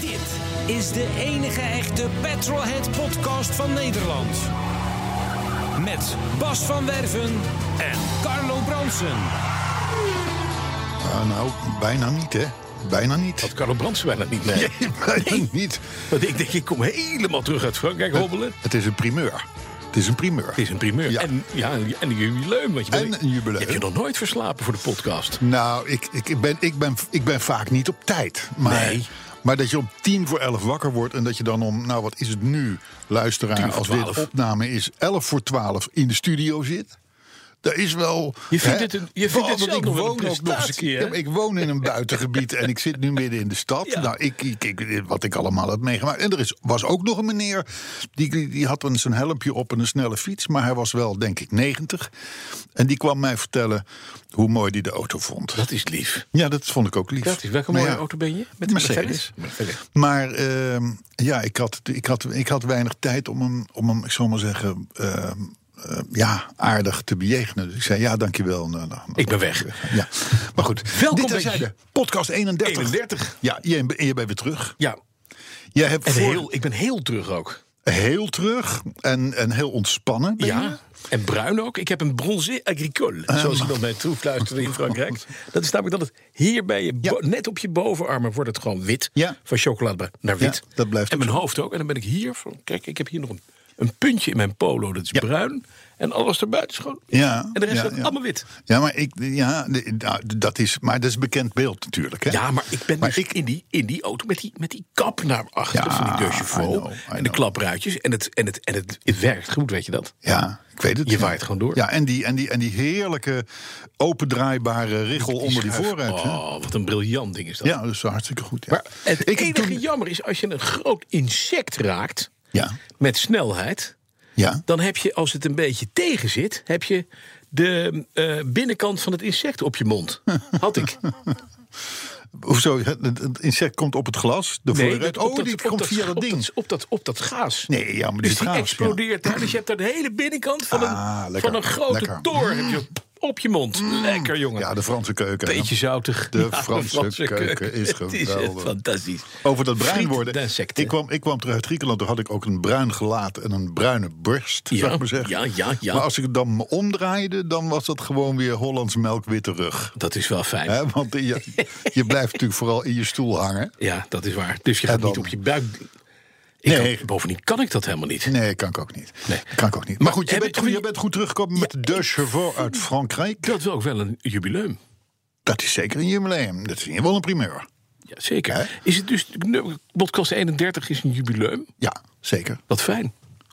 Dit is de enige echte Petrolhead podcast van Nederland. Met Bas van Werven en Carlo Bronsen. Ah, nou, bijna niet, hè? Bijna niet. Dat Karel Brandsen bijna niet mee. bijna niet. Want ik denk, ik kom helemaal terug uit Frankrijk hobbelen. Het is een primeur. Het is een primeur. Het is een primeur. Ja. En, ja, en een jubileum. Want je En een jubileum. Heb je nog nooit verslapen voor de podcast? Nou, ik, ik, ik, ben, ik, ben, ik ben vaak niet op tijd. Maar, Nee. maar dat je om tien voor elf wakker wordt en dat je dan om, nou wat is het nu, Tien luisteraar, voor als dit twaalf. opname is, elf voor twaalf in de studio zit. Dat is wel. Je vindt hè, Oh, het een- je vindt het want zelf ik nog wel woon een ook nog eens een prestatie, keer. hè? Ja, maar Ik woon in een buitengebied en ik zit nu midden in de stad. Ja. Nou, ik, ik, ik- wat ik allemaal heb meegemaakt. En er is, was ook nog een meneer, die, die, die had een, zijn helmpje op en een snelle fiets. Maar hij was wel, denk ik, 90. En die kwam mij vertellen hoe mooi hij de auto vond. Dat is lief. Ja, dat vond ik ook lief. Dat is, welke Maar mooie ja, auto ben je? Met de Mercedes. Mercedes. Maar ehm, ja, ik had, ik, had, ik had weinig tijd om hem, om hem ik zal maar zeggen, ehm, eh, ja, aardig te bejegenen. Dus ik zei, ja, dankjewel. Nou, nou, Ik ben weg. Ja, maar goed. Welkom Dit bij- terzijde. Podcast 31. 31. Ja, je, ben- je bent weer terug. Ja, Jij hebt en voor- heel, ik ben heel terug ook. heel terug en, en heel ontspannen. ben je. Ja, en bruin ook. Ik heb een bronzé agricole, Ah, zoals ik dan bij troef luisterde Oh, in Frankrijk. Dat is namelijk dat het hier bij je, bo- net op je bovenarmen wordt het gewoon wit. Ja. Van chocolade naar wit. Ja, dat blijft en ook mijn hoofd ook. En dan ben ik hier, van, kijk, ik heb hier nog een, een puntje in mijn polo, dat is Ja. bruin. En alles erbuiten is gewoon wit. Ja, En de rest ja, is ja. allemaal wit. Ja, maar ik, ja, de- nou, dat is, maar dat is bekend beeld natuurlijk. Hè? Ja, maar ik ben Maar dus ik- in, die, in die auto met die, met die kap naar achter Ja, van die I Deux Chevaux know, I En de know. klapruitjes. En, het, en, het, en het, het werkt goed, weet je dat? Ja, ik weet het. Je ja. waait gewoon door. Ja, en die, en die, en die heerlijke opendraaibare richel onder die schuif. voorruit. hè? Oh, wat een briljant ding is dat. Ja, dat is hartstikke goed. Ja. Maar het ik heb enige toen- jammer is als je een groot insect raakt Ja, met snelheid, ja. dan heb je als het een beetje tegen zit, heb je de eh, binnenkant van het insect op je mond. Had ik. Hoezo? Het het insect komt op het glas. De voorruit. op Oh, die op komt via op dat ding. Op dat, op dat gaas. Nee, ja, maar die dus is die gaas, ja. explodeert daar. Dus je hebt daar de hele binnenkant van een, Ah, lekker. van een grote Lekker. Mm. toren heb je op je mond. Lekker, jongen. Ja, de Franse keuken. hè? Beetje zoutig. De Franse keuken is Het is echt geweldig. fantastisch. Over dat bruin Friet worden. d'insecten. Ik kwam, ik kwam terug uit Griekenland. Toen had ik ook een bruin gelaat en een bruine borst. Ja, zou ik maar zeggen. ja, ja, ja. Maar als ik het dan me omdraaide, dan was dat gewoon weer Hollands melkwitte rug. Dat is wel fijn. Hè, want je, je blijft natuurlijk vooral in je stoel hangen. Ja, dat is waar. Dus je gaat En dan- niet op je buik. Ik Nee. kan- bovendien kan ik dat helemaal niet. Nee, kan ik ook niet. Nee. Kan ik ook niet. Maar, Maar goed, je heb bent, je- goed, je bent goed teruggekomen met de Deux Chevaux uit Frankrijk. Dat is wel ook wel een jubileum. Dat is zeker een jubileum. Dat is in ieder geval een primeur. Ja, zeker. Hè? Is het dus. nummer- Podcast 31 is een jubileum. Ja, zeker. Wat fijn.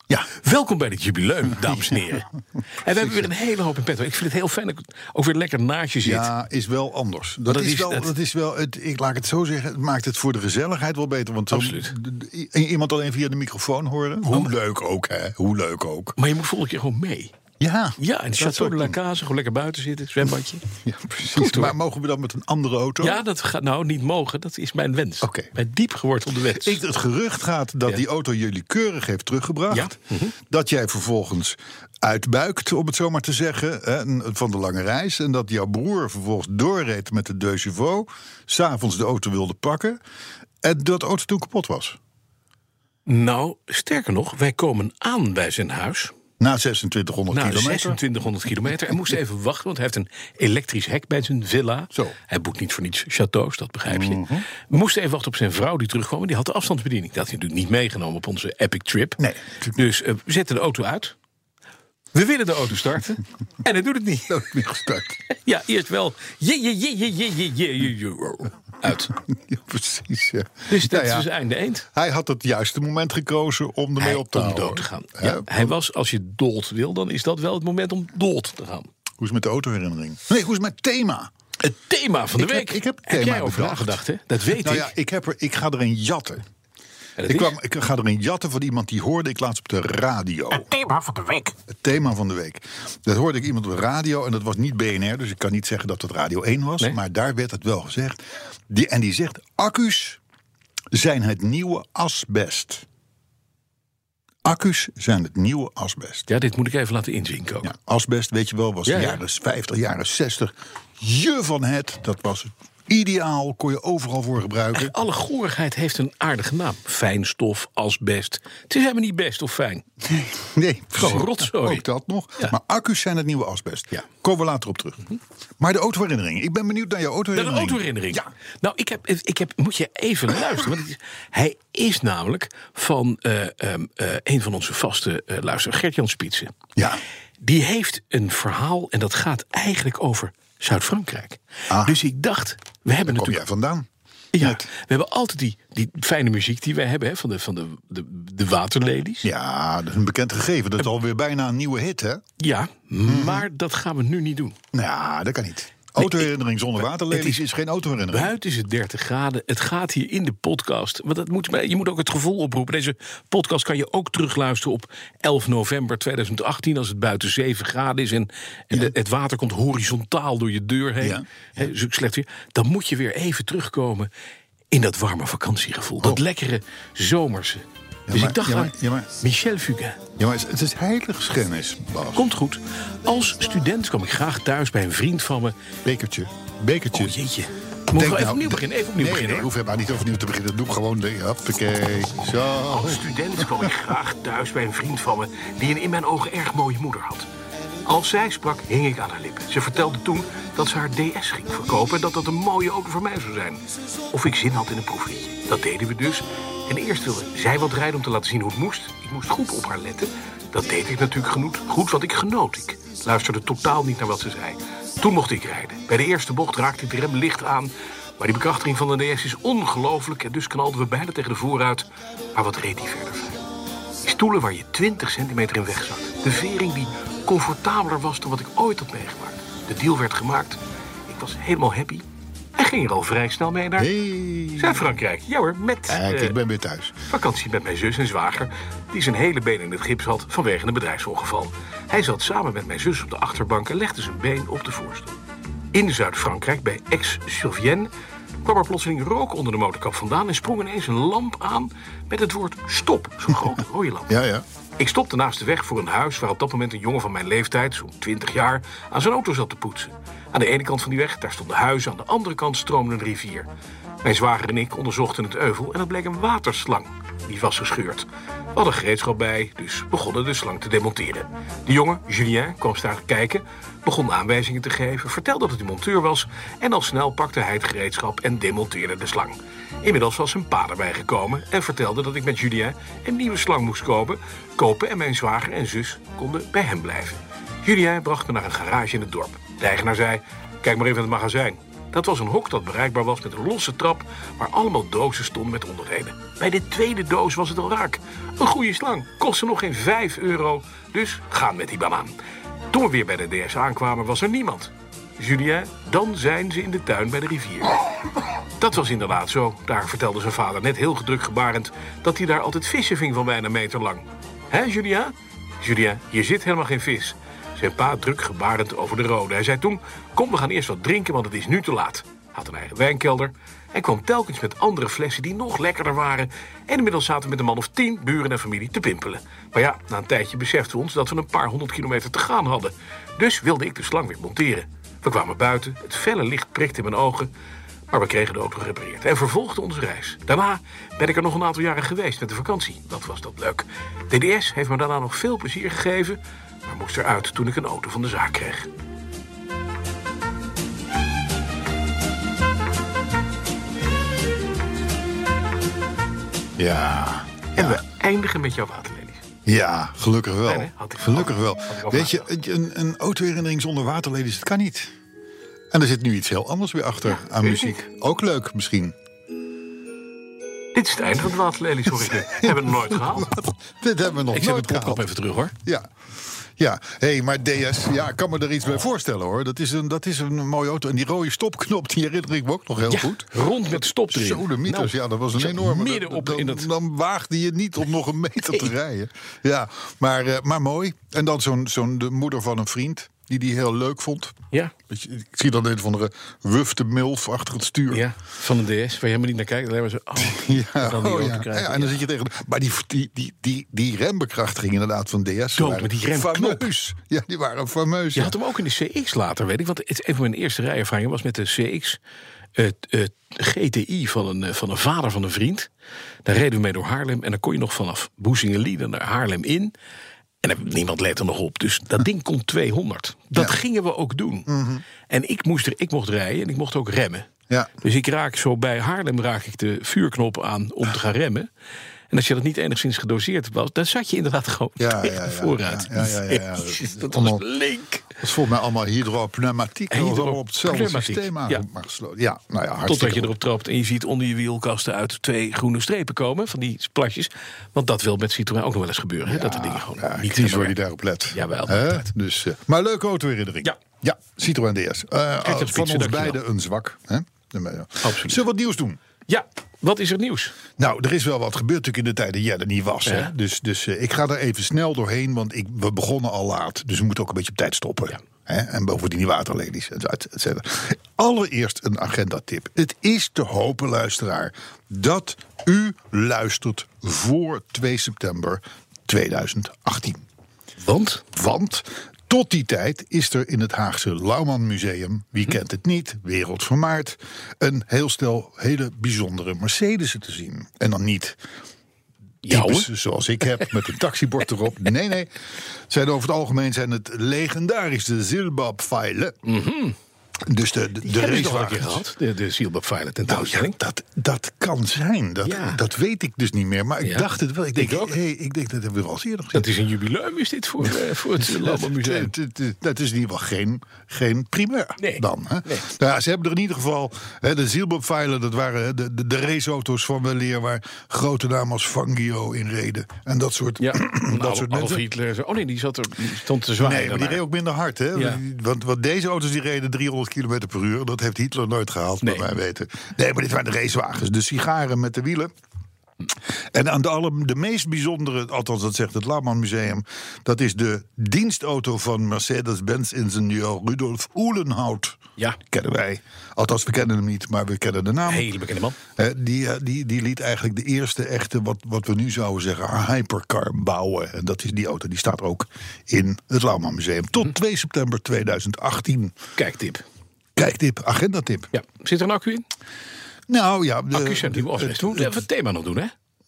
Ja, Welkom bij dit jubileum, dames en heren. En we hebben weer een hele hoop in petto. Ik vind het heel fijn dat ik ook weer lekker naast je zit. ja is wel anders. Dat, dat is, is wel, het. dat is wel het, ik laat ik het zo zeggen, het maakt het voor de gezelligheid wel beter. Want zo- Absoluut. d- i- iemand alleen via de microfoon horen. Oh. Hoe leuk ook, hè? Hoe leuk ook. Maar je moet volgende keer gewoon mee. Ja, Ja, in dat het zou Chateau ik de doen. la Case, gewoon lekker buiten zitten, zwembadje. Ja, precies. Goed, hoor. maar mogen we dan met een andere auto? Ja, dat gaat nou niet mogen. Dat is mijn wens. Oké. Mijn diep gewortelde wens. Ik, het gerucht gaat dat Ja. die auto jullie keurig heeft teruggebracht. Ja. Mhm. Dat jij vervolgens uitbuikt, om het zo maar te zeggen, hè, n- van de lange reis. En dat jouw broer vervolgens doorreed met de Deux Chevaux. S'avonds de auto wilde pakken. En dat de auto toen kapot was. Nou, sterker nog, wij komen aan bij zijn huis. Na 2600 Na kilometer. 2600 kilometer. En moest even wachten, want hij heeft een elektrisch hek bij zijn villa. Zo. Mhm. Hij boekt niet voor niets chateaus, dat begrijp je. We moesten even wachten op zijn vrouw die terugkwam. en Die had de afstandsbediening. Dat had hij natuurlijk niet meegenomen op onze epic trip. Nee, natuurlijk Dus eh, we zetten de auto uit. We willen de auto starten. en hij doet het niet. Nooit meer gestart. Ja, eerst wel. Je, je, je, je, je, je, je, je, je, Uit. Ja, precies. ja. Dus dat Nou ja, is dus einde eend. Hij had het juiste moment gekozen om ermee Hij- op te om houden. dood te gaan. Hè, Ja, hij was, als je dood wil, dan is dat wel het moment om dood te gaan. Hoe is het met de autoherinnering? Nee, hoe is het met thema? Het thema van de Ik heb- week. ik heb het heb thema jij over bedacht. nagedacht, hè? Dat weet nou ik. ja, ik, heb er, ik ga er een jatten. En dat Ik, is- kwam, ik ga er een jatten van iemand die hoorde ik laatst op de radio. thema van de week. Het thema van de week. Dat hoorde ik iemand op de radio en dat was niet BNR, dus ik kan niet zeggen dat dat Radio 1 was, Nee. maar daar werd het wel gezegd. Die, en die zegt: accu's zijn het nieuwe asbest. Accu's zijn het nieuwe asbest. Ja, dit moet ik even laten inzinken ook. Ja, asbest, weet je wel, was Ja, de ja. jaren 50, jaren 60. Je van het, dat was ideaal, kon je overal voor gebruiken. Alle goorigheid heeft een aardige naam. Fijnstof, asbest. Het is helemaal niet best of fijn. Nee, Gewoon precies. rotzooi. Ook dat nog. Oh, Ja. Maar accu's zijn het nieuwe asbest. Ja. Mhm. Komen we later op terug. Maar de autoherinnering. Ik ben benieuwd naar jouw Naar de autoherinnering. autoherinnering. Ja. Nou, ik heb, ik heb, moet je even luisteren. Want het is- hij is namelijk van eh, ehm, eh, een van onze vaste eh luisteraars, Gert-Jan Spietsen. Ja. Die heeft een verhaal en dat gaat eigenlijk over Zuid-Frankrijk. Ah. Dus ik dacht, we hebben Kom natuurlijk jij vandaan? Ja, we hebben altijd die, die fijne muziek die wij hebben hè, van, de, van de, de, de waterlelies. Ja, Ja, dat is een bekend gegeven. Dat is alweer bijna een nieuwe hit, hè? Mm-hmm. maar dat gaan we nu niet doen. Nou, dat kan niet. Autoherinnering zonder waterlelies het is, geen autoherinnering. Buiten is het 30 graden. Het gaat hier in de podcast. Want dat moet, maar je moet ook het gevoel oproepen. Deze podcast kan je ook terugluisteren op 11 november 2018. Als het buiten 7 graden is en, en de- het water komt horizontaal door je deur heen. Ja, Hè, is ook slecht weer. Dan moet je weer even terugkomen in dat warme vakantiegevoel. Dat lekkere zomerse. dus maar- ik dacht Oh. ja, maar- aan ja, maar- Michel Fugain. Ja, maar het is heiligschennis, Bas. Komt goed. Als student kwam ik graag thuis bij een vriend van me. Bekertje. Bekertje. Oh jeetje. Moeten we even nou- opnieuw beginnen? Even opnieuw nee, beginnen. Nee, hoor. hoef je maar niet overnieuw te beginnen. Doe ik gewoon de... Hoppakee. Zo. Als student kwam ik graag thuis bij een vriend van me die een in mijn ogen erg mooie moeder had. Als zij sprak, hing ik aan haar lippen. Ze vertelde toen dat ze haar DS ging verkopen en dat dat een mooie auto voor mij zou zijn. Of ik zin had in een proefritje. Dat deden we dus. En eerst wilde zij wat rijden om te laten zien hoe het moest. Ik moest goed op haar letten. Dat deed ik natuurlijk genoeg. Goed, want ik genoot. Ik luisterde totaal niet naar wat ze zei. Toen mocht ik rijden. Bij de eerste bocht raakte ik de rem licht aan. Maar die bekrachtiging van de DS is ongelooflijk. En dus knalden we bijna tegen de vooruit. Maar wat reed die verder fijn? Die stoelen waar je 20 centimeter in wegzat. De vering die comfortabeler was dan wat ik ooit had meegemaakt. De deal werd gemaakt. Ik was helemaal happy. En ging er al vrij snel mee naar Hey. Zuid-Frankrijk. Ja hoor, met Kijk, eh, ik ben weer thuis. vakantie met mijn zus en zwager... die zijn hele been in het gips had vanwege een bedrijfsongeval. Hij zat samen met mijn zus op de achterbank en legde zijn been op de voorste. In Zuid-Frankrijk, bij Aix-sur-Vienne... kwam er plotseling rook onder de motorkap vandaan... en sprong ineens een lamp aan met het woord stop. Zo'n grote rode lamp. Ja, ja. Ik stopte naast de weg voor een huis waar op dat moment een jongen van mijn leeftijd, zo'n 20 jaar, aan zijn auto zat te poetsen. Aan de ene kant van die weg, daar stonden huizen, aan de andere kant stroomde een rivier. Mijn zwager en ik onderzochten het euvel en dat bleek een waterslang. Die was gescheurd. We hadden gereedschap bij, dus begonnen de slang te demonteren. De jongen, Julien, kwam staan kijken, begon aanwijzingen te geven, vertelde dat het een monteur was en al snel pakte hij het gereedschap en demonteerde de slang. Inmiddels was zijn pa erbij gekomen en vertelde dat ik met Julien een nieuwe slang moest kopen, kopen en mijn zwager en zus konden bij hem blijven. Julien bracht me naar een garage in het dorp. De eigenaar zei, kijk maar even in het magazijn. Dat was een hok dat bereikbaar was met een losse trap waar allemaal dozen stonden met onderdelen. Bij de tweede doos was het al raak. Een goede slang, kostte nog geen 5 euro, dus gaan met die banaan. Toen we weer bij de DS aankwamen was er niemand. Julien, dan zijn ze in de tuin bij de rivier. Dat was inderdaad zo. Daar vertelde zijn vader net heel gedrukt gebarend dat hij daar altijd vissen ving van bijna een meter lang. Hé, Julia? Julia, hier zit helemaal geen vis. Zijn pa druk gebarend over de rode. Hij zei toen: Kom, we gaan eerst wat drinken, want het is nu te laat. Hij Had een eigen wijnkelder en kwam telkens met andere flessen die nog lekkerder waren. En inmiddels zaten we met een man of tien buren en familie te pimpelen. Maar ja, na een tijdje beseften we ons dat we een paar honderd kilometer te gaan hadden. Dus wilde ik de slang weer monteren. We kwamen buiten, het felle licht prikte in mijn ogen. Maar we kregen de auto gerepareerd en vervolgden onze reis. Daarna ben ik er nog een aantal jaren geweest met de vakantie. Dat was dat leuk. DDS heeft me daarna nog veel plezier gegeven, maar moest eruit toen ik een auto van de zaak kreeg. Ja. En we eindigen met jouw waterlelies. Ja, gelukkig wel. Nee, nee, had ik- gelukkig wel. had ik al Weet je, een, een autoherinnering zonder waterlelies, dat kan niet. En er zit nu iets heel anders weer achter aan weet muziek. ik Ook leuk misschien. Dit Dit is het einde van de waterlelie, sorry. We hebben het nooit gehaald. Dit hebben we nog Ik zet nooit het gehaald. kopkap even terug, hoor. Ja. Ja, hey, maar DS, ja, ik kan me er iets bij voorstellen hoor. Dat is, een, dat is een mooie auto. En die rode stopknop, die herinner ik me ook nog heel goed. rond met stop erin. Sodemieters, Nou, ja, dat was een zo enorme. Midden op dan, in dat... dan waagde je niet om nog een meter te rijden. Ja, maar, eh, maar mooi. En dan zo'n zo'n de moeder van een vriend, die die heel leuk vond. Ja, Weet je, Ik zie dan een of andere wufte milf achter het stuur. ja, van een DS, waar je helemaal niet naar kijkt. Alleen maar zo... Oh, Ja, dan die oh auto ja. krijgen, Ja, en dan zit je tegen. de- Maar die, die, die, die, die rembekrachtiging inderdaad van DS. Dood, waren maar die remknop. Fameus. Ja, die waren fameus. Je Dus ja. had hem ook in de CX later, weet ik. Want het, een van mijn eerste rijervaringen was met de CX eh, eh, GTI van een, eh, van een vader van een vriend. Daar reden we mee door Haarlem. En dan kon je nog vanaf Boezingelieden naar Haarlem in. En er- niemand let er nog op. Dus dat ding kon 200. Dat Ja. Mhm. gingen we ook doen. En ik, moest er, ik mocht rijden en ik mocht ook remmen. Ja. Dus ik raak zo bij Haarlem raak ik de vuurknop aan om te gaan remmen. En als je dat niet enigszins gedoseerd was, dan zat je inderdaad gewoon Ja, ja, tegen ja, ja, vooruit. ja, ja, ja, ja. Jezus, dat was Allemaal- link. Dat is volgens mij allemaal hydropneumatiek. Hydro- Hydro op hetzelfde pneumatiek, systeem aan- ja. maar gesloten. Ja, nou ja, hartstikke Totdat je goed. erop trapt en je ziet onder je wielkasten uit twee groene strepen komen van die plasjes. Want dat wil met Citroën ook nog wel eens gebeuren. hè, dat de dingen gewoon Ja, niet niet is waar helemaal- die daarop let. Jawel, Hè? altijd. Dus, eh, maar leuke auto-herinnering. Ja. ja, Citroën DS. Eh, Kijk, dat van fietsen, ons dankjewel. beiden een zwak. Hè? Absoluut. Zullen we wat nieuws doen? Ja, wat is er nieuws? Nou, er is wel wat gebeurd natuurlijk in de tijd dat jij er niet was. Ja. Hè? Dus, dus eh, ik ga er even snel doorheen, want ik, we begonnen al laat. Dus we moeten ook een beetje op tijd stoppen. Hè? En bovendien die waterlelies, et et- et cetera. Allereerst een agendatip. Het is te hopen, luisteraar, dat u luistert voor 2 september 2018. Want? Want tot die tijd is er in het Haagse Lauwman Museum, wie kent het niet, wereldvermaard, een heel stel hele bijzondere Mercedes'en te zien. En dan niet Jouwe? types zoals ik heb, met een taxibord erop. Nee, nee. Zijn over het algemeen zijn het legendarische Zilbab-feilen. Dus de, de, de Mhm. Die hebben ze toch al een keer racewagens. gehad, de, de Zielbab Violet Nou ja, tentoonstelling. dat, dat kan zijn. Dat, Ja. dat weet ik dus niet meer. Maar ik Ja. dacht het wel. Ik denk, Ik ook. hey, ik denk dat hebben we al eens eerder gezien. Dat is een jubileum is dit voor, eh, voor het Landbouw Museum. Het- het- het- Dat is in ieder geval geen, geen primeur Nee. dan. Hè? Nee. Nou ja, ze hebben er in ieder geval... Hè, de Zielbobveilen, dat waren hè, de, de, de raceauto's van weleer... waar grote namen als Fangio in reden. En dat soort, Ja, Nou, dat soort Adolf mensen. Hitler. zo. Oh nee, die, zat er, die stond te zwaaien. Nee, maar die daarna. reed ook minder hard. Hè? Ja. Want, want deze auto's die reden 300 km per uur. Dat heeft Hitler nooit gehaald, Nee. bij mij weten. Nee, maar dit waren de racewagens. De sigaren met de wielen. En aan de, alle, de meest bijzondere, althans dat zegt het Laman Museum... dat is de dienstauto van Mercedes-Benz-ingenieur Rudolf Oelenhout. Ja. Kennen wij. Althans, we kennen hem niet, maar we kennen de naam. Hele bekende man. Hè, die, eh, die, die liet eigenlijk de eerste echte, wat, wat we nu zouden zeggen, hypercar bouwen. En dat is die auto, die staat ook in het Lauwman Museum. Hm. Tot 2 september 2018. Kijktip. Kijktip, agendatip. Ja. Zit er een accu in? Nou ja, de, Accu's zijn de- nieuw afgelegd. We moeten even het thema nog doen, hè?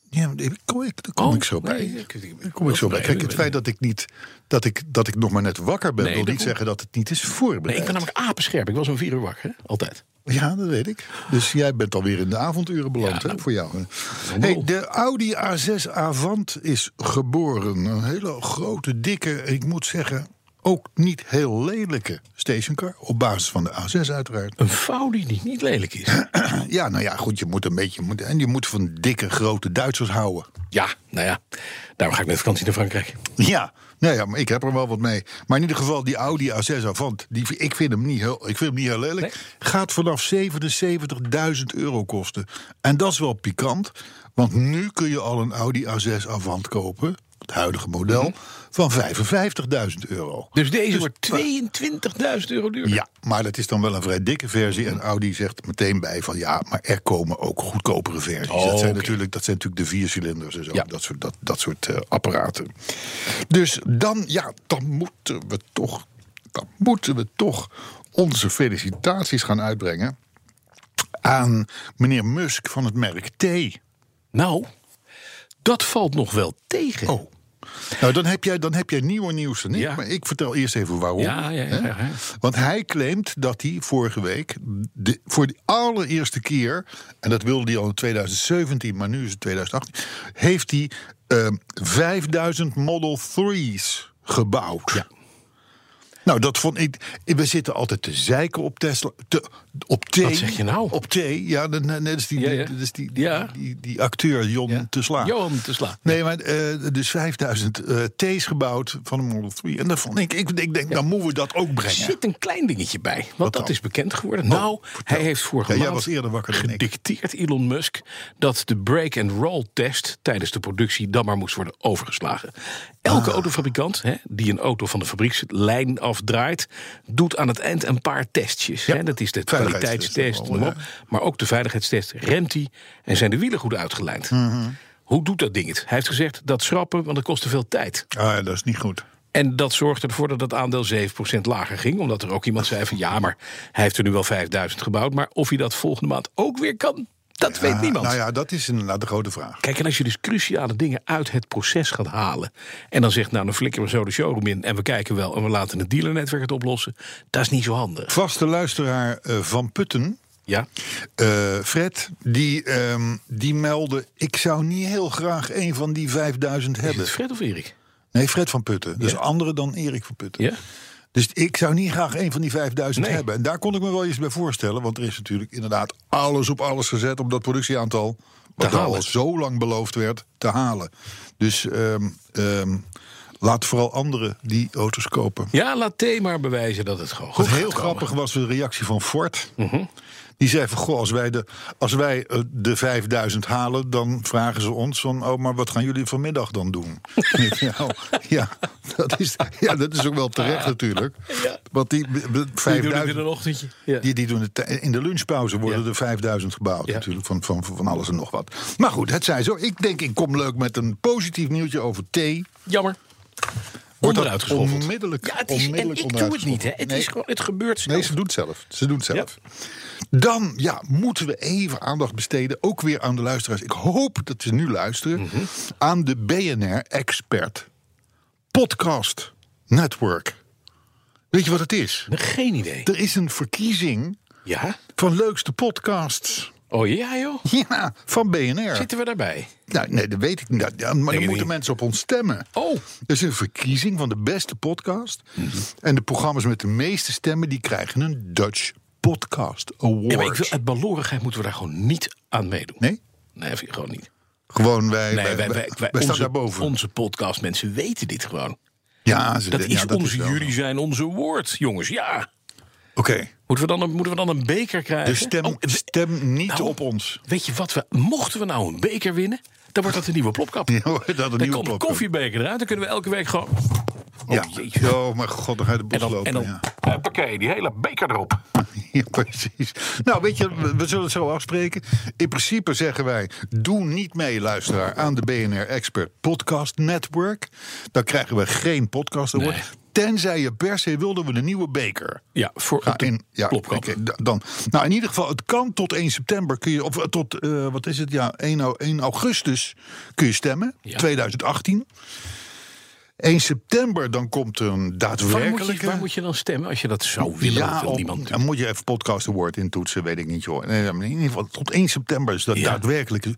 ja, daar kom ik, daar kom Oh, ik zo bij. nee, ik- ik- Daar kom ik zo bij. nee, Kijk, nee, het nee. feit dat ik, niet, dat, ik, dat ik nog maar net wakker ben, Nee, wil dat niet hoeft- zeggen dat het niet is Nee, voorbereid. ik ben namelijk apenscherp. Ik was om vier uur wakker, hè? altijd. Ja, dat weet ik. Dus jij bent alweer in de avonduren beland, Ja, hè, voor jou. Hey, de Audi A6 Avant is geboren. Een hele grote, dikke, ik moet zeggen, ook niet heel lelijke stationcar. Op basis van de A6 uiteraard. Een vouw die niet, niet lelijk is. Ja, nou ja, goed, je moet een beetje... moet- En je moet van dikke, grote Duitsers houden. Ja, nou ja. Daarom ga ik met vakantie naar Frankrijk. Ja, nou ja, maar ik heb er wel wat mee. Maar in ieder geval, die Audi A6 Avant, die, ik, vind hem niet heel, ik vind hem niet heel lelijk. Gaat vanaf 77.000 euro kosten. En dat is wel pikant, want nu kun je al een Audi A6 Avant kopen, het huidige model, van 55.000 euro. Mhm. Dus deze wordt 22.000 euro duurder. Ja, maar dat is dan wel een vrij dikke versie. En Audi zegt meteen bij van ja, maar er komen ook goedkopere versies. Oh, dat, zijn oké. natuurlijk, dat zijn natuurlijk de viercilinders en zo. Ja. Dat soort, dat, dat soort eh, apparaten. Dus dan, ja, dan moeten we toch, dan moeten we toch onze felicitaties gaan uitbrengen aan meneer Musk van het merk T. Nou, dat valt nog wel tegen. Oh. Nou, dan heb jij, dan heb jij nieuwe nieuws dan ik. Ja. Maar ik vertel eerst even waarom. Ja, ja, ja, hè? ja, ja. Want hij claimt dat hij vorige week de, voor de allereerste keer... en dat wilde hij al in 2017, maar nu is het 2018... heeft hij ehm, eh, 5000 Model 3's gebouwd. Ja. Nou, dat vond ik. We zitten altijd te zeiken op Tesla. Te, op thee. Wat zeg je nou? Op thee. Ja, dat nee, dat is die, Ja, ja. dat is die, die, Ja. die, die acteur Jon te slaan. Johan te slaan. Nee, maar eh, dus 5000 eh T's gebouwd van een Model 3. En dat vond ik, ik, ik denk, dan moeten we dat ook Er brengen. zit een klein dingetje bij, want dat dan? is bekend geworden. Oh, nou, vertel. hij heeft vorige Ja, jij maand was eerder wakker dan ik. gedicteerd, Elon Musk, dat de break-and-roll-test tijdens de productie dan maar moest worden overgeslagen. Elke Ah. autofabrikant hè, die een auto van de fabriekslijn afdraait, doet aan het eind een paar testjes. hè. Dat is de Veiligheidstest kwaliteitstest, ook wel, noem op. maar ook de veiligheidstest. Remt hij en zijn de wielen goed uitgelijnd? Mhm. Hoe doet dat ding het? Hij heeft gezegd dat schrappen, want dat kost te veel tijd. Ah, ja, dat is niet goed. En dat zorgde ervoor dat het aandeel 7% lager ging. Omdat er ook iemand zei van ja, maar hij heeft er nu wel 5000 gebouwd. Maar of hij dat volgende maand ook weer kan, dat weet Ah, niemand. Nou ja, dat is inderdaad de grote vraag. Kijk, en als je dus cruciale dingen uit het proces gaat halen. En dan zegt nou, dan flikken we zo de showroom in. En we kijken wel en we laten het dealernetwerk het oplossen. Dat is niet zo handig. Vaste luisteraar eh, van Putten, Ja, eh, Fred, die, ehm, die meldde: Ik zou niet heel graag een van die 5000 is hebben. het Fred of Erik? Nee, Fred van Putten. Dus andere dan Erik van Putten. Ja? Dus ik zou niet graag een van die 5000 Nee. hebben. En daar kon ik me wel eens bij voorstellen. Want er is natuurlijk inderdaad alles op alles gezet om dat productieaantal. Wat halen. al zo lang beloofd werd, te halen. Dus ehm, ehm, laat vooral anderen die auto's kopen. Ja, laat T maar bewijzen dat het gewoon goed Wat heel gaat komen. grappig was de reactie van Ford. Die zei van, goh, als wij, de, als wij eh, de 5000 halen... dan vragen ze ons van, oh, maar wat gaan jullie vanmiddag dan doen? nou, ja, dat is, ja, dat is ook wel terecht natuurlijk. Want die b- b- Die doen het in 5000... een ochtendje. Ja. Die, die doen het tij- in de lunchpauze worden Ja. er 5000 gebouwd Ja. natuurlijk van, van, van alles en nog wat. Maar goed, het zij zo. Ik denk ik kom leuk met een positief nieuwtje over thee. Jammer. Wordt dat Onderuit geschoffeld. onmiddellijk- Ja, het is, en onmiddellijk ik doe het niet. Hè. Het, Nee. is gewoon, het gebeurt zelf. Nee, ze doet het zelf. Ze doet het zelf. Dan ja, moeten we even aandacht besteden, ook weer aan de luisteraars. Ik hoop dat ze nu luisteren aan de BNR Expert Podcast Network. Weet je wat het is? Geen idee. Er is een verkiezing Ja? van leukste podcasts Oh ja, joh. ja, van BNR. Zitten we daarbij? Nou, nee, dat weet ik niet. Nou, ja, maar ik dan moeten niet. mensen op ons stemmen. Oh. Mhm. Er is een verkiezing van de beste podcast. En de programma's met de meeste stemmen die krijgen een Dutch Podcast Award. Ja, maar ik wil, uit balorigheid moeten we daar gewoon niet aan meedoen. Nee? Nee, vind ik gewoon niet. Gewoon wij. Nee, wij, wij, wij- staan onze, daarboven. onze podcastmensen weten dit gewoon. ja, ze Dat ja, is onze wel jullie zo. zijn onze woord, jongens. Ja. Oké. Moeten we, dan, een- moeten we dan een beker krijgen? Dus stem, Oh, we- stem niet nou, op ons. Weet je wat we... Mochten we nou een beker winnen, dan wordt dat een nieuwe plopkap. Ja, hoor, dat een dan nieuwe komt plopkap. een koffiebeker eruit. Dan kunnen we elke week gewoon... Oh, ja. jeetje. Oh, mijn god, dan ga je de En bos dan... lopen. En dan ja. Hoppakee, die hele beker erop. Ja, precies. Nou, weet je, we, we zullen het zo afspreken. In principe zeggen wij: doe niet mee, luisteraar, aan de BNR Expert Podcast Network. Dan krijgen we geen podcast award. Nee. Tenzij je per se wilde we een nieuwe beker. Ja, voor Ga in, ja, plopkap. oké, da- dan. Nou, in ieder geval, het kan tot 1 september. Kun je, of eh, tot, eh, wat is het? Ja, 1, au- 1 augustus kun je stemmen. Ja. 2018. 1 september, dan komt er een Waar daadwerkelijke... moet, je, waar moet je dan stemmen als je dat zou willen? dat wil op- niemand natuurlijk. dan moet je even podcast award intoetsen, weet ik niet joh. Nee, maar In ieder geval tot 1 september is dat Ja. daadwerkelijke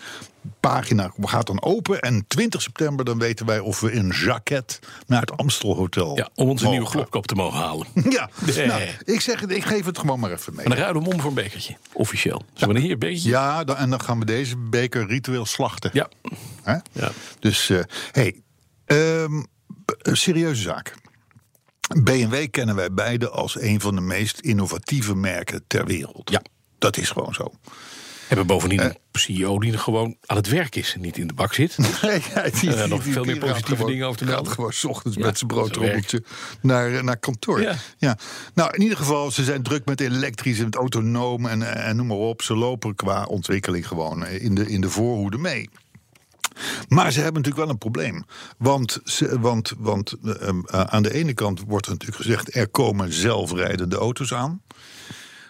pagina gaat dan open. En 20 september dan weten wij of we in jacket naar het Amstelhotel Ja, om onze nieuwe mogen. klopkap te mogen halen. Ja, Nee. nou, ik, zeg het, ik geef het gewoon maar even mee. En dan ruilen we hem om voor een bekertje. Officieel. Zullen we hier een bekertje? Ja, dan, en dan gaan we deze beker ritueel slachten. Ja. Hè? Ja. Dus, eh, hey, ehm, b- een serieuze zaak. BMW kennen wij beide als een van de meest innovatieve merken ter wereld. Ja. Dat is gewoon zo. Hebben bovendien Eh. een CEO die er gewoon aan het werk is. en Niet in de bak zit. Nee, ja, die- nog die- die veel meer gaat positieve gewoon- dingen over te Gaat melden. gewoon 's ochtends Ja, met zijn broodrommeltje naar, eh, naar kantoor. Ja. Ja. Nou, in ieder geval, ze zijn druk met elektrisch en met autonoom en, eh, en noem maar op. Ze lopen qua ontwikkeling gewoon eh, in de, in de voorhoede mee. Maar ze hebben natuurlijk wel een probleem. Want, ze, want, want eh, eh, aan de ene kant wordt er natuurlijk gezegd... er komen zelfrijdende auto's aan.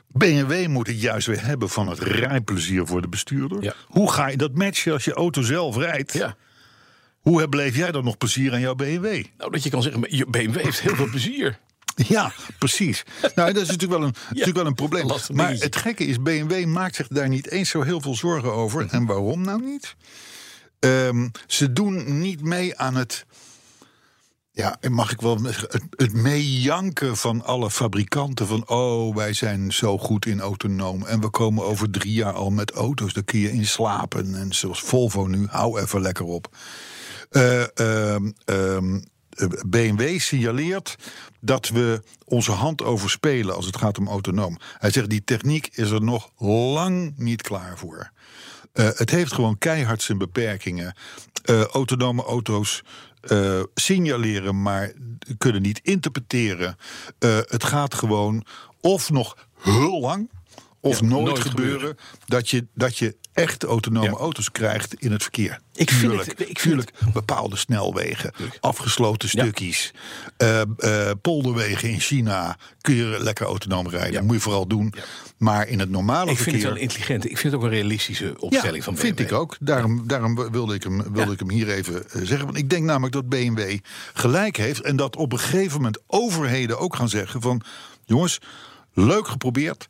BMW moet het juist weer hebben van het rijplezier voor de bestuurder. Ja. Hoe ga je dat matchen als je auto zelf rijdt? Ja. Hoe beleef jij dan nog plezier aan jouw BMW? Nou, dat je kan zeggen, maar je BMW heeft heel veel plezier. Ja, precies. Nou, dat is natuurlijk wel een, natuurlijk wel een probleem. lastig Maar dingetje. het gekke is, BMW maakt zich daar niet eens zo heel veel zorgen over. En waarom nou niet? Ehm, ze doen niet mee aan het Ja, en mag ik wel zeggen, het, het meejanken van alle fabrikanten van oh, wij zijn zo goed in autonoom en we komen over drie jaar al met auto's, daar kun je in slapen. En zoals Volvo nu, hou even lekker op. Eh, ehm, ehm, eh, BMW signaleert dat we onze hand overspelen als het gaat om autonoom. Hij zegt die techniek is er nog lang niet klaar voor. Eh, het heeft gewoon keihard zijn beperkingen. Eh, autonome auto's eh, signaleren, maar kunnen niet interpreteren. Eh, het gaat gewoon of nog heel lang, of nooit, nooit gebeuren, gebeuren. Dat, je, dat je echt autonome Ja. auto's krijgt in het verkeer. Ik vind Tuurlijk, het- ik vind tuurlijk bepaalde snelwegen, afgesloten stukjes, eh, eh, polderwegen in China kun je lekker autonoom rijden. Ja. Moet je vooral doen. Maar in het normale Ik verkeer. vind het wel intelligent. Ik vind het ook een realistische opstelling Ja, van vind BMW. ik ook. Daarom, daarom wilde, ik hem, wilde ik hem hier even eh, zeggen. Want ik denk namelijk dat BMW gelijk heeft. En dat op een gegeven moment overheden ook gaan zeggen van... jongens, leuk geprobeerd.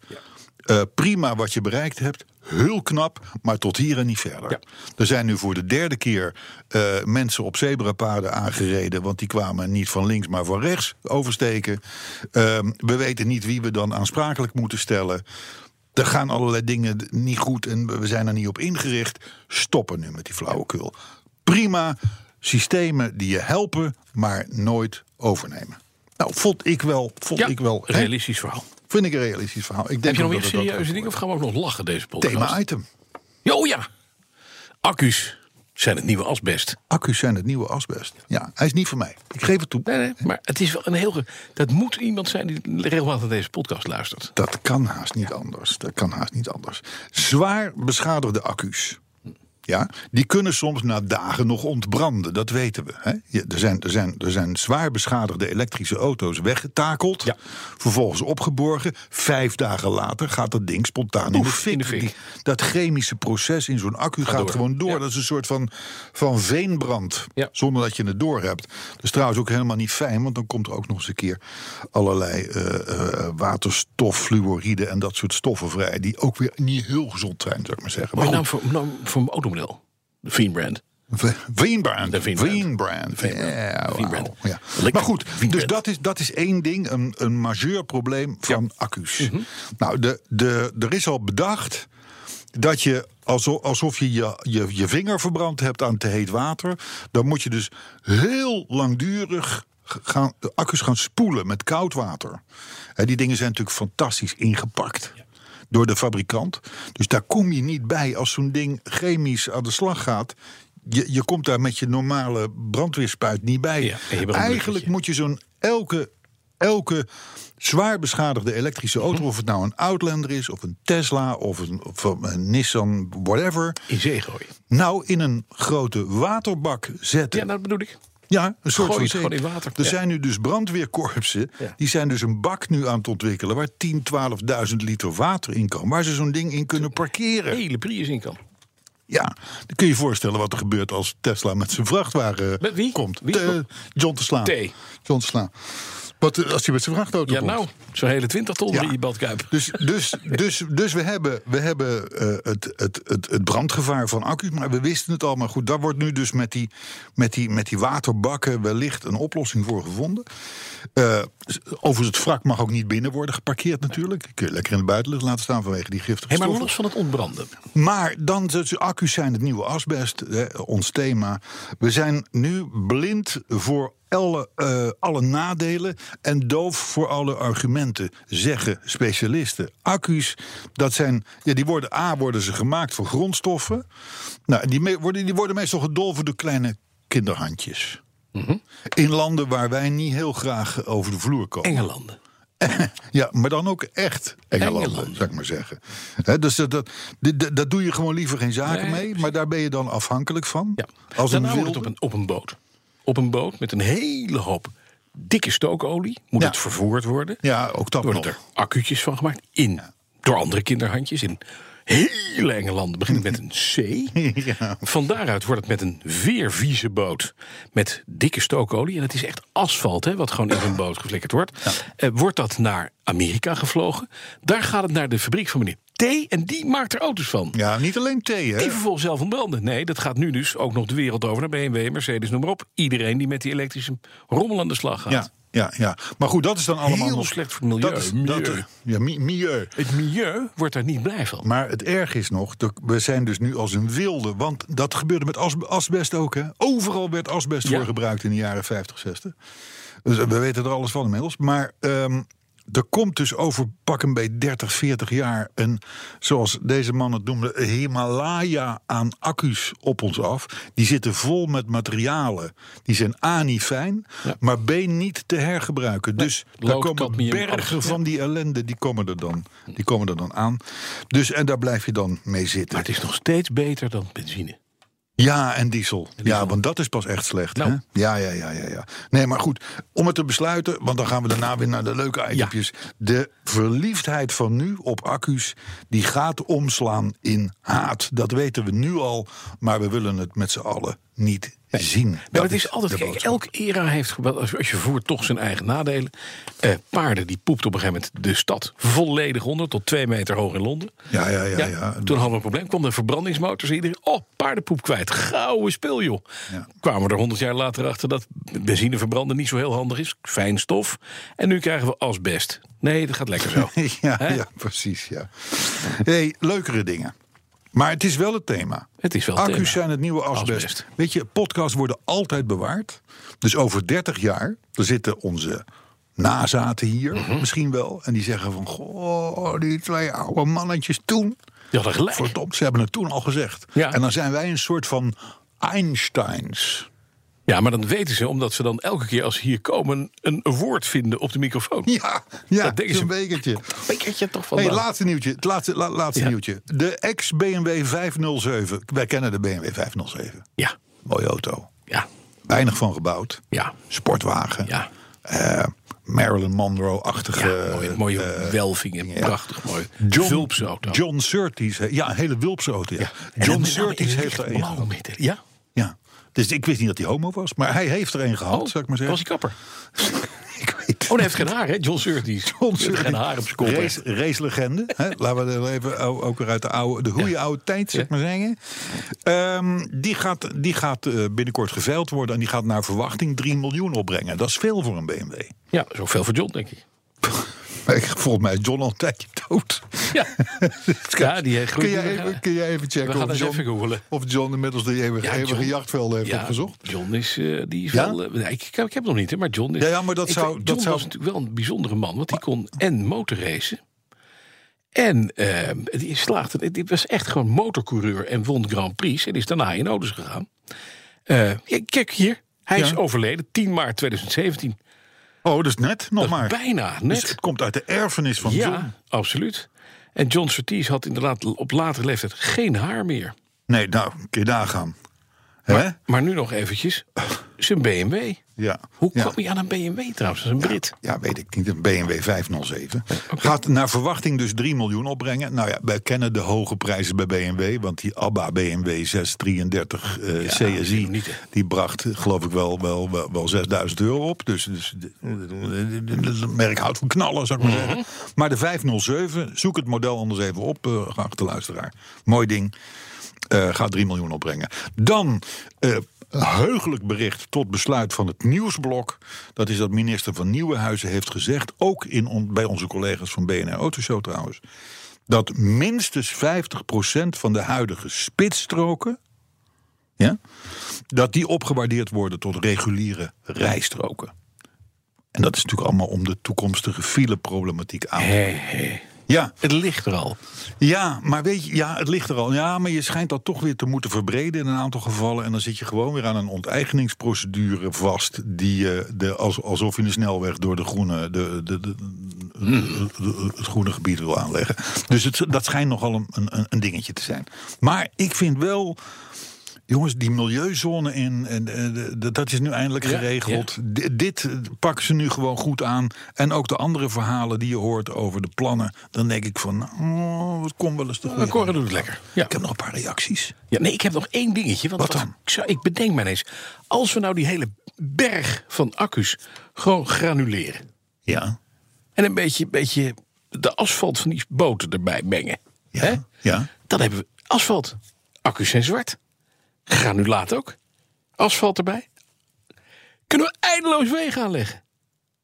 Eh, prima wat je bereikt hebt. Heel knap, maar tot hier en niet verder. Ja. Er zijn nu voor de derde keer eh, mensen op zebrapaden aangereden... want die kwamen niet van links, maar van rechts oversteken. Ehm, we weten niet wie we dan aansprakelijk moeten stellen. Er gaan allerlei dingen d- niet goed en we zijn er niet op ingericht. Stoppen nu met die flauwekul. Prima, systemen die je helpen, maar nooit overnemen. Nou, vond ik wel, vond Ja, ik wel hè? realistisch verhaal. Vind ik een realistisch verhaal. Ik denk Heb je nog ook meer dat het dat serieuze gaat dingen of gaan we ook nog lachen deze podcast? worden. Thema-item. Ja, oh ja. Accu's zijn het nieuwe asbest. Accu's zijn het nieuwe asbest. Ja, hij is niet van mij. Ik geef het toe. Nee, nee, maar het is wel een heel... ge- Dat moet iemand zijn die regelmatig naar deze podcast luistert. Dat kan haast niet anders. Dat kan haast niet anders. Zwaar beschadigde accu's. Ja, die kunnen soms na dagen nog ontbranden, dat weten we. Hè? Je- er, zijn, er, zijn, er zijn zwaar beschadigde elektrische auto's weggetakeld, Ja. vervolgens opgeborgen. Vijf dagen later gaat dat ding spontaan in de Oef, fik. in de fik. Die- dat chemische proces in zo'n accu gaat door. gewoon door. Ja. Dat is een soort van, van veenbrand, Ja. zonder dat je het door hebt. Dat is trouwens ook helemaal niet fijn, want dan komt er ook nog eens een keer allerlei eh, eh, waterstof, fluoride en dat soort stoffen vrij, die ook weer niet heel gezond zijn, zou ik maar zeggen. Maar Maar naam voor, naam voor een automodel. De Fiendbrand. Wienbrand. nou- De Wienbrand. Wienbrand. Wienbrand. Ja, wauw. Wienbrand. Ja. Lekker. Maar goed, dus Wienbrand. dat is, dat is één ding, een, een majeur probleem van accu's. Mhm. Nou, de, de, er is al bedacht dat je, alsof, alsof je, je je je vinger verbrand hebt aan te heet water... dan moet je dus heel langdurig gaan, de accu's gaan spoelen met koud water. Hè, die dingen zijn natuurlijk fantastisch ingepakt door de fabrikant. Dus daar kom je niet bij als zo'n ding chemisch aan de slag gaat. Je, je komt daar met je normale brandweerspuit niet bij. Ja, en je brandt Eigenlijk een moet je zo'n elke, elke zwaar beschadigde elektrische auto... of het nou een Outlander is, of een Tesla, of een, of een Nissan, whatever... In zee gooien. nou in een grote waterbak zetten. Ja, nou, dat bedoel ik. Ja, een soort Gooi van het zeep. gewoon in water. Er Ja. zijn nu dus brandweerkorpsen. Ja. Die zijn dus een bak nu aan het ontwikkelen. waar 10.000, 12.000 liter water in kan. Waar ze zo'n ding in kunnen parkeren. Hele Prius in kan. Ja, dan kun je je voorstellen wat er gebeurt als Tesla met zijn vrachtwagen Met wie? komt. Wie? Eh, John te slaan. T. John te slaan. Wat eh, als hij met zijn vrachtauto Ja, komt? nou. Zo'n hele 20 ton Ja. in je badkuip. Dus, dus, dus, dus we hebben, we hebben eh, het, het, het, het brandgevaar van accu's, maar we wisten het al. Maar goed, daar wordt nu dus met die, met die, met die waterbakken wellicht een oplossing voor gevonden. Eh, overigens, het wrak mag ook niet binnen worden geparkeerd natuurlijk. Die Kun je lekker in de buitenlucht laten staan vanwege die giftige Hey, maar stoffen. los van het ontbranden. Maar dan, dus accu's zijn het nieuwe asbest, hè, ons thema. We zijn nu blind voor alle, eh, alle nadelen en doof voor alle argumenten, zeggen specialisten. Accu's, dat zijn, ja, die worden, A, worden ze gemaakt voor grondstoffen. Nou, en die, me- worden, die worden meestal gedolven door kleine kinderhandjes. In landen waar wij niet heel graag over de vloer komen. Engelanden. Ja, maar dan ook echt Engeland, Engeland. zou ik maar zeggen. Hè, dus dat, dat, dit- dat, dat doe je gewoon liever geen zaken Nee, mee, maar daar ben je dan afhankelijk van. Ja. Als een Daarna wordt wilde. het op een, op een boot. Op een boot met een hele hoop dikke stookolie. Moet Ja. het vervoerd worden. Ja, ook dat worden nog. er accu'tjes van gemaakt. In, Door andere kinderhandjes. In hele enge landen. Begint met een C. Van daaruit wordt het met een veervieze boot. Met dikke stookolie. En het is echt asfalt hè, wat gewoon in zo'n boot geflikkerd wordt. Eh, wordt dat naar Amerika gevlogen. Daar gaat het naar de fabriek van meneer T. thee en die maakt er auto's van. Ja, niet alleen thee, hè? Die vervolgens zelf ontbranden. Nee, dat gaat nu dus ook nog de wereld over naar BMW, Mercedes, noem maar op. Iedereen die met die elektrische rommel aan de slag gaat. Ja, ja, ja. Maar goed, dat is dan allemaal Heel nog... slecht voor het milieu. Dat is, Milieu. Dat, ja, mi- milieu. Het milieu wordt daar niet blij van. Maar het erg is nog, dat- we zijn dus nu als een wilde. Want dat gebeurde met as- asbest ook. Hè? Overal werd asbest Ja. voor gebruikt in de jaren 50, 60. Dus we weten er alles van inmiddels. Maar ehm, er komt dus over pak een beetje 30, 40 jaar een, zoals deze man het noemde, een Himalaya aan accu's op ons af. Die zitten vol met materialen. Die zijn A niet fijn, Ja. maar B niet te hergebruiken. dus daar lood, komen cadmium, bergen alles. van die ellende, die komen er dan, die komen er dan aan. Dus en daar blijf je dan mee Maar zitten. het is nog steeds beter dan benzine. Ja, en diesel. Ja, want dat is pas echt slecht. Nou. Hè? Ja, ja, ja, ja, ja. Nee, maar goed, om het te besluiten, want dan gaan we daarna weer naar de leuke itempjes. De verliefdheid van nu op accu's, die gaat omslaan in haat. Dat weten we nu al, maar we willen het met z'n allen niet zien. Ja, maar het is altijd, de kijk, boodschap. elke era heeft, wel- als als je voert, toch zijn eigen nadelen. Eh, paarden, die poept op een gegeven moment de stad volledig onder, tot twee meter hoog in Londen. Ja, ja, ja, ja. Toen hadden we een probleem, kwam de verbrandingsmotors, iedereen, oh, paardenpoep kwijt, gouden spul, joh. Ja. Kwamen we er honderd jaar later achter dat benzine verbranden niet zo heel handig is, fijn stof. En nu krijgen we asbest. Nee, dat gaat lekker zo. Ja, Hè? ja precies. Ja. Hey, leukere dingen. Maar het is wel het thema. Het is wel het Accu's thema. zijn het nieuwe asbest. Asbest. Weet je, podcasts worden altijd bewaard. Dus over 30 jaar dan zitten onze nazaten hier Mhm. misschien wel. En die zeggen van, goh, die twee oude mannetjes toen. Je had er gelijk. Verdomd, ze hebben het toen al gezegd. Ja. En dan zijn wij een soort van Einsteins. Ja, maar dan weten ze, omdat ze dan elke keer als ze hier komen... een woord vinden op de microfoon. Ja, ja Dat denken zo'n ze. bekertje. Bekertje toch van. Hey, laatste nieuwtje. Het laatste, la- laatste Ja. nieuwtje. De ex-BMW 507. Wij kennen de BMW 507. Ja, Mooie auto. ja, Weinig van gebouwd. ja, Sportwagen. ja. Eh, Marilyn Monroe-achtige. ja mooie, mooie eh, welvingen, prachtig mooi. John, Vulpse auto. John Surtees. he- Ja, een hele Wulpse auto. Ja. En John met name Surtees in heeft er licht een blauw gehad. met de- Ja? Ja. Dus ik wist niet dat hij homo was, maar hij heeft er een gehad, Oh, zou ik maar zeggen. was hij kapper. ik weet Oh, hij heeft geen haar, hè? John Surtees. John Surtees. Geen haar op zijn kop. hè? Race, racelegende. hè? Laten we er even o- ook weer uit de, oude, de goede oude tijd, zeg maar zeggen. Ehm, die gaat, die gaat eh, binnenkort geveild worden. En die gaat naar verwachting 3 miljoen opbrengen. Dat is veel voor een BMW. Ja, dat is ook veel voor John, denk ik. Maar ik- Volgens mij is John al een tijdje dood. Ja, ja die heeft Kun jij even, kun jij even We checken gaan of eens John, even googelen. of John inmiddels de eeuwige, Ja, eeuwige John. jachtvelden heeft Ja, opgezocht? John is, eh, die is Ja? wel... eh, nee, ik, ik heb hem nog niet, hè, maar John is... Ja, ja, maar dat ik- zou- John dat zou- was natuurlijk wel een bijzondere man, want die kon en motorracen... En eh, die slaagde, dit was echt gewoon motorcoureur en won Grand Prix. En is daarna in auto's gegaan. Eh, ja, kijk hier, hij Ja. is overleden 10 maart 2017. Oh, dus net nog Dat is maar. bijna net. Dus het komt uit de erfenis van ja, John. absoluut. En John Surtees had inderdaad op latere leeftijd geen haar meer. Nee, nou, kun je daar gaan. Hè? Maar nu nog eventjes, zijn BMW. Ja. Hoe ja. kwam hij aan een BMW trouwens? Dat is een Brit. Ja, weet ik niet. Een BMW 507. Gaat naar verwachting dus 3 miljoen opbrengen. Nou ja, wij kennen de hoge prijzen bij BMW. Want die ABBA BMW 633 eh, CSI, niet, hè. die bracht eh, geloof ik wel, wel, wel, wel 6000 euro op. Dus, dus de- de- de- de- het merk houdt van knallen, zou ik Mhm. maar zeggen. Maar de 507, zoek het model anders even op, eh geachte luisteraar. Mooi ding. Eh, gaat 3 miljoen opbrengen. Dan eh, een heugelijk bericht tot besluit van het nieuwsblok. Dat is dat minister van Nieuwenhuizen heeft gezegd, ook in on- bij onze collega's van BNR Autoshow trouwens, dat minstens 50% van de huidige spitsstroken, ja, dat die opgewaardeerd worden tot reguliere rijstroken. En dat is natuurlijk allemaal om de toekomstige fileproblematiek aan. te- Hé, hé. Ja, Het ligt er al. ja, maar weet je, ja, het ligt er al. Ja, maar je schijnt dat toch weer te moeten verbreden in een aantal gevallen. En dan zit je gewoon weer aan een onteigeningsprocedure vast. Die, eh, de, als, alsof je een snelweg door de groene, de, de, de- de- de- het groene gebied wil aanleggen. Dus het, dat schijnt nogal een, een, een dingetje te zijn. Maar ik vind wel. Jongens, die milieuzone in, en, eh, de- de- dat is nu eindelijk Ja, geregeld. D- dit eh, pakken ze nu gewoon goed aan. En ook de andere verhalen die je hoort over de plannen. Dan denk ik van, oh, het komt wel eens te Maar goed. Cora doet het lekker. Ja. Ik heb nog een paar reacties. Ja, nee, ik heb nog één dingetje. Want Wat dan? Ik, zou, ik bedenk mij eens. Als we nou die hele berg van accu's gewoon granuleren. Ja, En een beetje, beetje de asfalt van die boten erbij mengen. Ja. Hè? ja. Dan hebben we asfalt. Accu's zijn zwart. Granulaat ook. Asfalt erbij. Kunnen we eindeloos wegen aanleggen.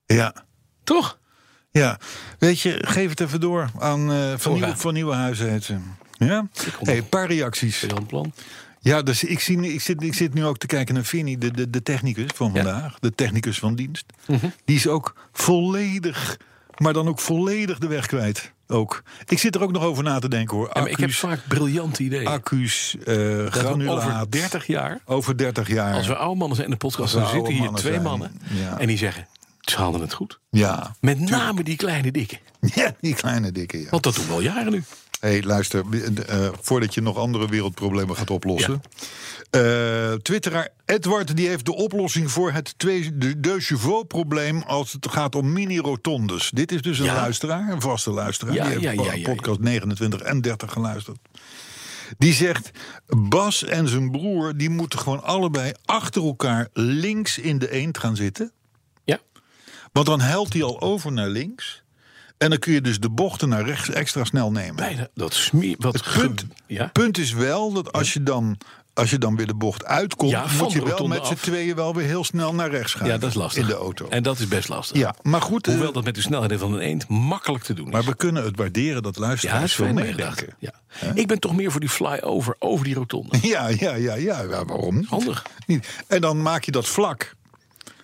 ja. Toch? Ja, weet je, geef het even door aan eh, van, Vooraan. nieuwe, van nieuwe huizen. heet ze. Ja? kom Hey, nog. een paar reacties. Briljant Ja, dus ik, zie, nu- ik, zit, ik zit nu ook te kijken naar Vinnie, de, de, de technicus van Ja. Mhm. vandaag. De technicus van dienst. Die is ook volledig, maar dan ook volledig de weg kwijt. Ook. Ik zit er ook nog over na te denken hoor. plan. Ik heb Accu's, vaak briljante ideeën. accu's eh Dat we granulaat. over 30 jaar, Over 30 jaar. als we oude mannen zijn in de podcast, Als we dan oude zitten hier mannen twee zijn, mannen. ja. En die zeggen, ze hadden het goed. Ja. Met name die kleine dikke. ja, die kleine dikke. Ja. Want dat doen we al jaren nu. Hé, hey, luister, eh, eh, voordat je nog andere wereldproblemen gaat oplossen. Eh, Twitteraar Edward die heeft de oplossing voor het twee- de De Chauveau-probleem als het gaat om mini-rotondes. Dit is dus een Ja. luisteraar, een vaste luisteraar. Ja, die heeft ja, ja, po- ja, ja. podcast 29 en 30 geluisterd. Die zegt, Bas en zijn broer die moeten gewoon allebei achter elkaar links in de eend gaan zitten. Ja, Want dan huilt hij al over naar links. En dan kun je dus de bochten naar rechts extra snel nemen. bijna. Dat smeer... Wat Het punt, ge- Ja, punt is wel dat als je dan, als je dan weer de bocht uitkomt, Ja, van moet je de wel rotonde met z'n af. tweeën wel weer heel snel naar rechts gaan. ja, dat is lastig. In de auto. En dat is best lastig. ja, maar goed, eh, Hoewel dat met de snelheid van een eend makkelijk te doen is. maar we kunnen het waarderen dat ja, luisteraars is veel fijn meedenken. meegedacht. Ja. Ik ben toch meer voor die flyover, over die rotonde. Ja, ja, ja, ja, ja, waarom niet? Handig. Niet. En dan maak je dat vlak.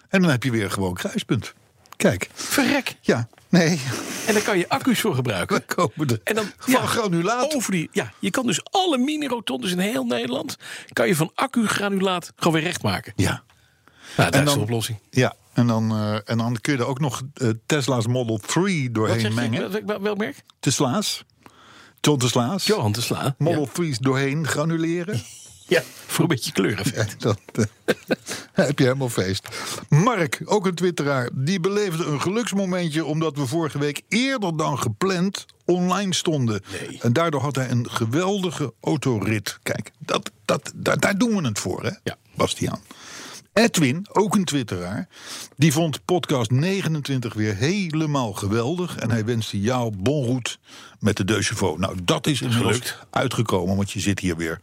En dan heb je weer gewoon kruispunt. Kijk, Verrek. ja, nee, En daar kan je accu's voor gebruiken. we komen er. En dan van granulaat. Over die, ja, je kan dus alle mini-rotondes in heel Nederland. kan je van accu-granulaat gewoon weer recht maken. Ja, Nou, dat is dan- de oplossing. ja. En, dan, eh, en dan kun je er ook nog eh, Tesla's Model 3 Wat zeg doorheen je? mengen. Wel- wel- Welk merk? Tesla's. John Tesla's. Johan te slaan. Model 3's doorheen granuleren. Ja. Voor een beetje kleureneffect. Dat eh, heb je helemaal feest. Mark, ook een twitteraar, die beleefde een geluksmomentje... omdat we vorige week eerder dan gepland online stonden. Nee. En daardoor had hij een geweldige autorit. Kijk, dat, dat, daar, daar doen we het voor, hè, Ja. Bastiaan. Edwin, ook een twitteraar, die vond podcast 29 weer helemaal geweldig. En hij wenste jou bon route met de Deux Chevaux. Nou, dat is inmiddels Gelukt. uitgekomen, want je zit hier weer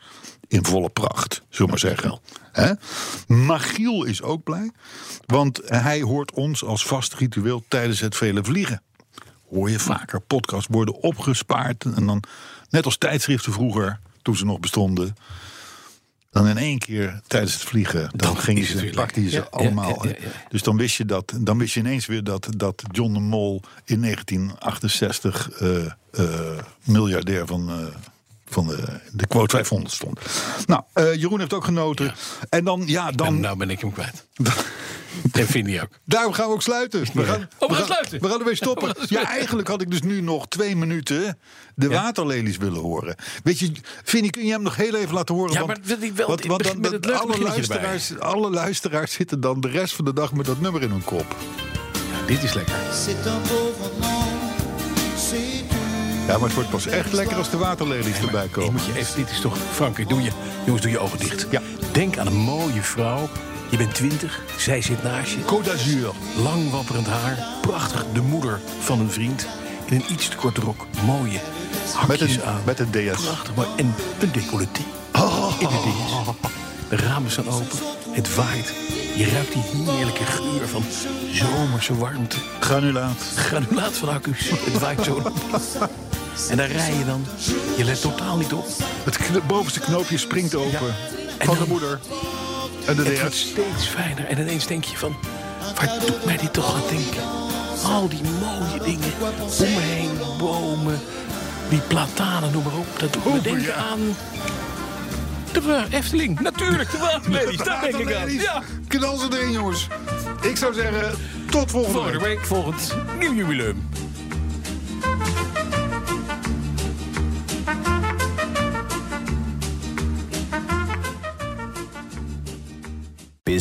in volle pracht, zullen we maar zeggen. Hè? Magiel is ook blij, want hij hoort ons als vast ritueel tijdens het vele vliegen. Hoor je vaker, podcasts worden opgespaard en dan, net als tijdschriften vroeger, toen ze nog bestonden, dan in één keer tijdens het vliegen, dan, Dan gingen is het ze, weer pakten je ze lekker. Ja, ja, allemaal. ja, ja, ja. Dus dan wist je dat, dan wist je ineens weer dat, dat John de Mol in 1968 eh, eh, miljardair van, eh, van de, de quote 500 stond. Nou, eh, Jeroen heeft ook genoten. En dan, ja, En dan, nou ben ik hem kwijt. en Vinnie ook. daarom gaan we ook sluiten. We gaan, Oh, gaan sluiten. We gaan ermee stoppen. We gaan Ja, sluiten. eigenlijk had ik dus nu nog twee minuten de waterlelies willen horen. Weet je, Vinnie, kun je hem nog heel even laten horen? Ja, Want- maar wil ik wel- want- het want begint dan- met het leuke alle beginnetje erbij. luisteraars, alle luisteraars zitten dan de rest van de dag met dat nummer in hun kop. Dit is lekker. C'est un beau roman, c'est une Ja, maar het wordt pas echt lekker als de waterlelies erbij Ik komen. moet je even, dit is toch, Frank, doe je, jongens, doe je ogen dicht. Ja. Denk aan een mooie vrouw. Je bent twintig, zij zit naast je. Côte d'Azur. Lang wapperend haar, prachtig de moeder van een vriend. In een iets te korte rok, mooie Met hakjes een, aan. met een DS. Prachtig, maar en een decolleté. In de dingen. De ramen staan open, het waait. Je ruikt die heerlijke geur van zomerse warmte. Granulaat. Granulaat van accu's, het waait zo. En daar rij je dan. Je let totaal niet op. Het kn- bovenste knoopje springt open. En Van de dan- moeder. En de Het wordt DS. steeds fijner. En ineens denk je van, waar doet mij dit toch aan denken? Al die mooie dingen om me heen, bomen, die platanen, noem maar op. Dat doet me denken ja. aan... De wa- Efteling, natuurlijk, de waterlelies, daar denk ik aan. Waterlelies. Ja, Knal ze erin, jongens. Ik zou zeggen, tot volgende volgende week. week volgend nieuw jubileum.